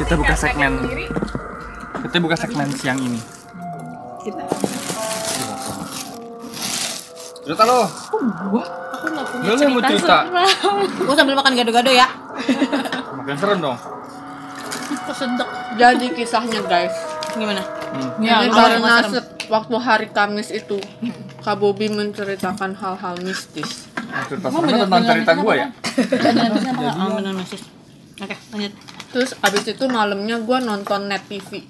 Kita buka segmen. Kita buka segmen siang ini. Kita. Cerita lo. Aku nggak punya Lo yang mau cerita. Gue sambil makan gado-gado ya. Makin serem dong. kesedek. Jadi kisahnya guys. Gimana? Hmm. Ya, Jadi lu kalau karena nggak serem. se- waktu hari Kamis itu, Kak Bobi menceritakan hal-hal mistis. Cerita serem tentang cerita gue ya. benar-benar apa nggak? Ah, bener masih. Oke, lanjut. Terus abis itu malamnya gue nonton net TV.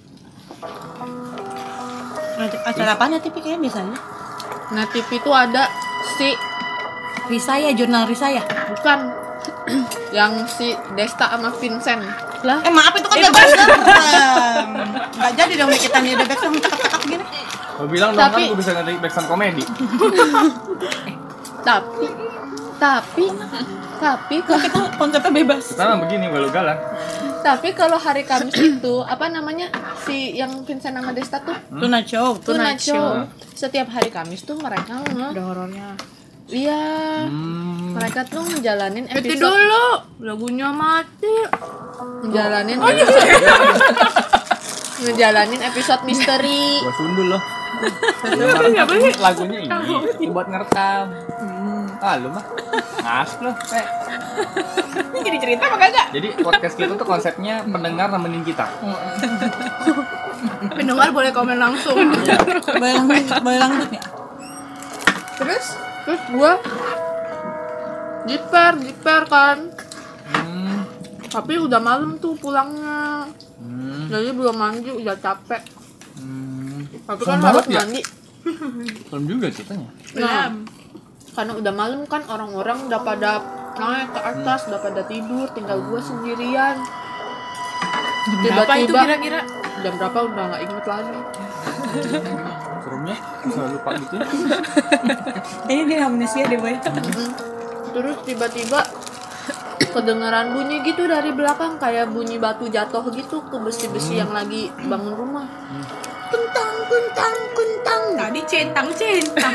Lanjut. Acara apa nanti kayaknya ya. biasanya? Net TV itu ada si Risaya, ya, jurnal Risaya. bukan yang si Desta sama Vincent lah. Eh maaf itu kan gak serem. Gak jadi dong kita nih udah backsound cakep-cakep gini. Lo bilang dong kan Tapi- gue bisa ngerti backsound komedi. Tapi tapi tapi Kita konsepnya bebas. Kita mah Nah, begini galau-galan. tapi kalau hari Kamis itu apa namanya si yang Vincent sama Desta tuh Tuna show. Tuna Show. Show. Setiap hari Kamis tuh mereka nge- Ada horornya. Iya. Hmm. Mereka tuh ngejalanin Itu episode dulu. Lagunya mati. ngejalanin episode, ngejalanin episode misteri. Gua sundul loh. Enggak beli lagunya ini buat ngerekam. Hmm. Ah, lu mah ngas loh. Eh, Ini jadi cerita apa kagak? Jadi podcast kita tuh konsepnya pendengar nemenin kita. Pendengar boleh komen langsung. Boleh lanjut, boleh lanjut ya? terus terus gua jiper jiper kan Hmm. tapi udah malam tuh pulangnya Hmm. jadi belum mandi udah capek Hmm. tapi Serem kan harus banget ya? mandi Serem juga ceritanya. nah karena udah malam kan orang-orang udah pada naik ke atas udah pada tidur tinggal gua sendirian Apa itu tiba-tiba kira-kira? jam berapa udah nggak inget lagi Seremnya bisa lupa gitu. Kayaknya dia amnesia deh boy. terus tiba-tiba kedengaran bunyi gitu dari belakang kayak bunyi batu jatuh gitu ke besi-besi yang lagi bangun rumah Hmm. kentang kentang kentang Tadi centang centang.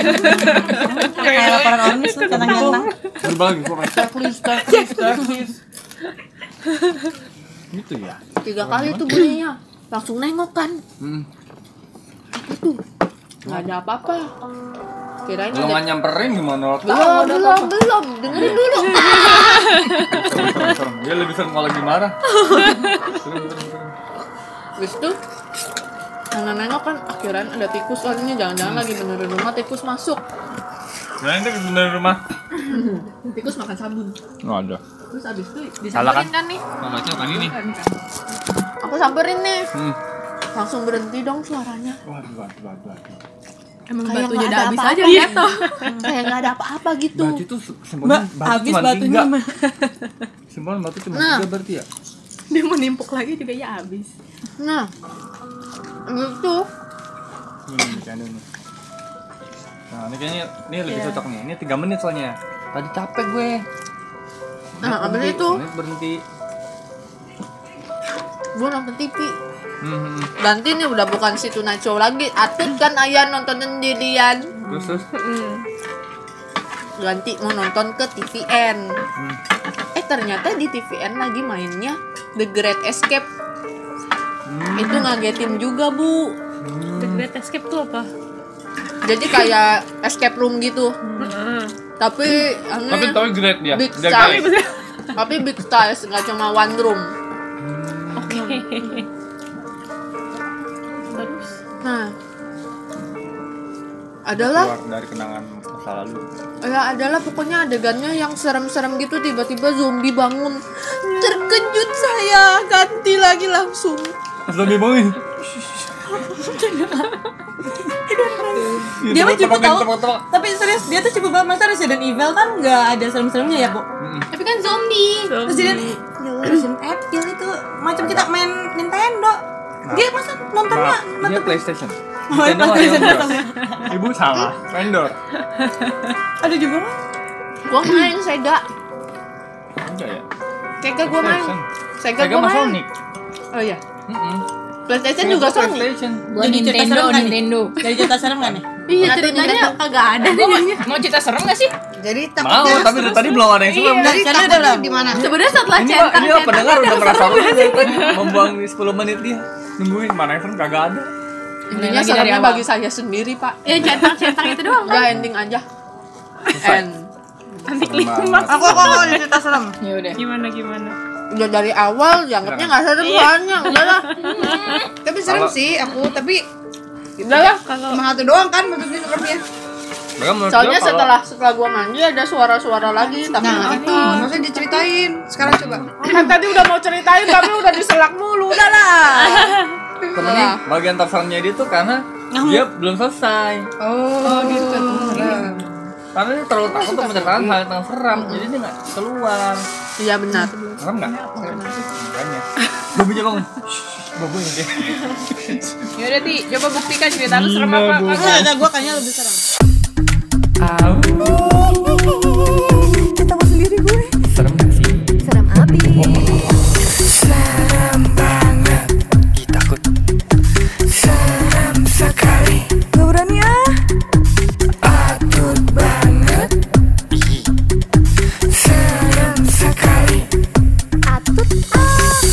Kayak laporan ormis tuh centang-centang. Coba lagi gua main. Checklist, checklist, checklist. Gitu ya. tiga kali tuh bunyinya langsung nengok kan Hmm. itu nggak ada apa-apa kirain Kalau nggak ada nyamperin gimana waktu? belum belum belum dengerin Iya. dulu Serem, serem, serem. Dia lebih serem kalau lagi marah. Serem, serem, serem. Habis itu karena nengok kan akhiran ada tikus oh ini Hmm. jangan-jangan lagi benerin rumah tikus masuk Nah, itu bener rumah. tikus makan sabun Nggak ada. terus abis itu Salah kan? disamperin kan nih Baca kan ini. aku samperin nih Hmm. langsung berhenti dong suaranya Waduh, waduh, waduh, waduh. Emang Kayak batunya nggak udah ada habis apa-apa. aja gitu. kayak nggak ada apa-apa gitu Batu itu se- Mbak, semuanya batu habis cuma batunya tiga. mah. Semua batu cuma Nah. tiga berarti ya? Dia mau nimpuk lagi juga ya habis. nah gitu Hmm, bercanda nih. Nah, ini kayaknya ini lebih cocok nih. Ini 3 menit soalnya. Tadi capek gue. nah abis Berhenti, itu menit berhenti. gue nonton TV Hmm, hmm, hmm. Nanti nih udah bukan si Tuna Show lagi Atut kan ayah nonton sendirian Terus terus. Ganti mau nonton ke TVN Hmm. Eh ternyata di TVN lagi mainnya The Great Escape Hmm. Itu ngagetin juga bu The Great Escape tuh apa? Jadi kayak escape room gitu Tapi Hmm. aneh, Tapi tapi great dia. Big Dia size great. Tapi big size nggak cuma one room Oke. Terus Nah Adalah Keluar dari kenangan masa lalu. Ya adalah pokoknya adegannya yang serem-serem gitu tiba-tiba zombie bangun. Terkejut saya, ganti lagi langsung. Zombie boy. Dia mah cuma tahu. Tapi serius, dia tuh coba banget. Masa Resident Evil kan nggak ada serem-seremnya ya, Bu? Tapi kan zombie. Resident Evil, Resident Evil eh, itu macam kita main Nintendo. Dia masa nontonnya Maaf, ini PlayStation. Oh, Nintendo PlayStation. Mario Bros. Ibu salah. Vendor. ada juga mah. Gua main Sega. Enggak ya. Sega gua main. Sega, Sega sama gua main. Sonic. Oh iya. Mm-mm. PlayStation Sega juga sama Sony. PlayStation. Gua Jadi cerita serem Nintendo, kan nih? Nintendo. Dari cerita serem kan nih? Iya, ceritanya kagak ada. Gua mau, mau cerita serem gak sih? jadi Mau, takutnya tapi dari tadi belum ada yang suka. Iya. Jadi, jadi Channel takutnya dalam. gimana Sebenarnya setelah Ini centang, ini apa dengar udah centang, penasaran banget dari tadi. membuang 10 menit dia nungguin mana Evan kagak ada. Intinya Lagi dari seremnya awal. bagi saya sendiri, Pak. Ya centang-centang itu doang Udah ending aja. End. Anti Serem klimaks. banget. aku aku aku ada cerita serem Ya udah. Gimana gimana? Udah dari awal dianggapnya nggak serem banyak. Udah lah. tapi serem Kalau- sih aku tapi Udah lah. Kalau cuma satu doang kan maksudnya seremnya Maka menurut Soalnya gua kalau- setelah setelah gua mandi ada suara-suara lagi tapi nah itu maksudnya diceritain sekarang coba kan tadi udah mau ceritain tapi udah diselak mulu. Udah lah. Temennya bagian terserangnya dia tuh karena dia belum selesai. oh gitu Karena dia terlalu takut untuk menceritakan hal tentang seram, jadi dia nggak keluar. Iya benar. Serem nggak? Makanya. Babunya bangun. Shh, Babunya dia. Ya udah Ti, coba buktikan cerita lu serem apa. Gila, Karena ada gua kayaknya lebih serem Tahu. Ketawa sendiri gue Serem nggak sih? Serem abis Ih, takut. Gak berani ah Ih. Atut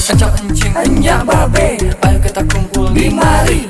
Encok encing Enya babe Ayo kita kumpul di mari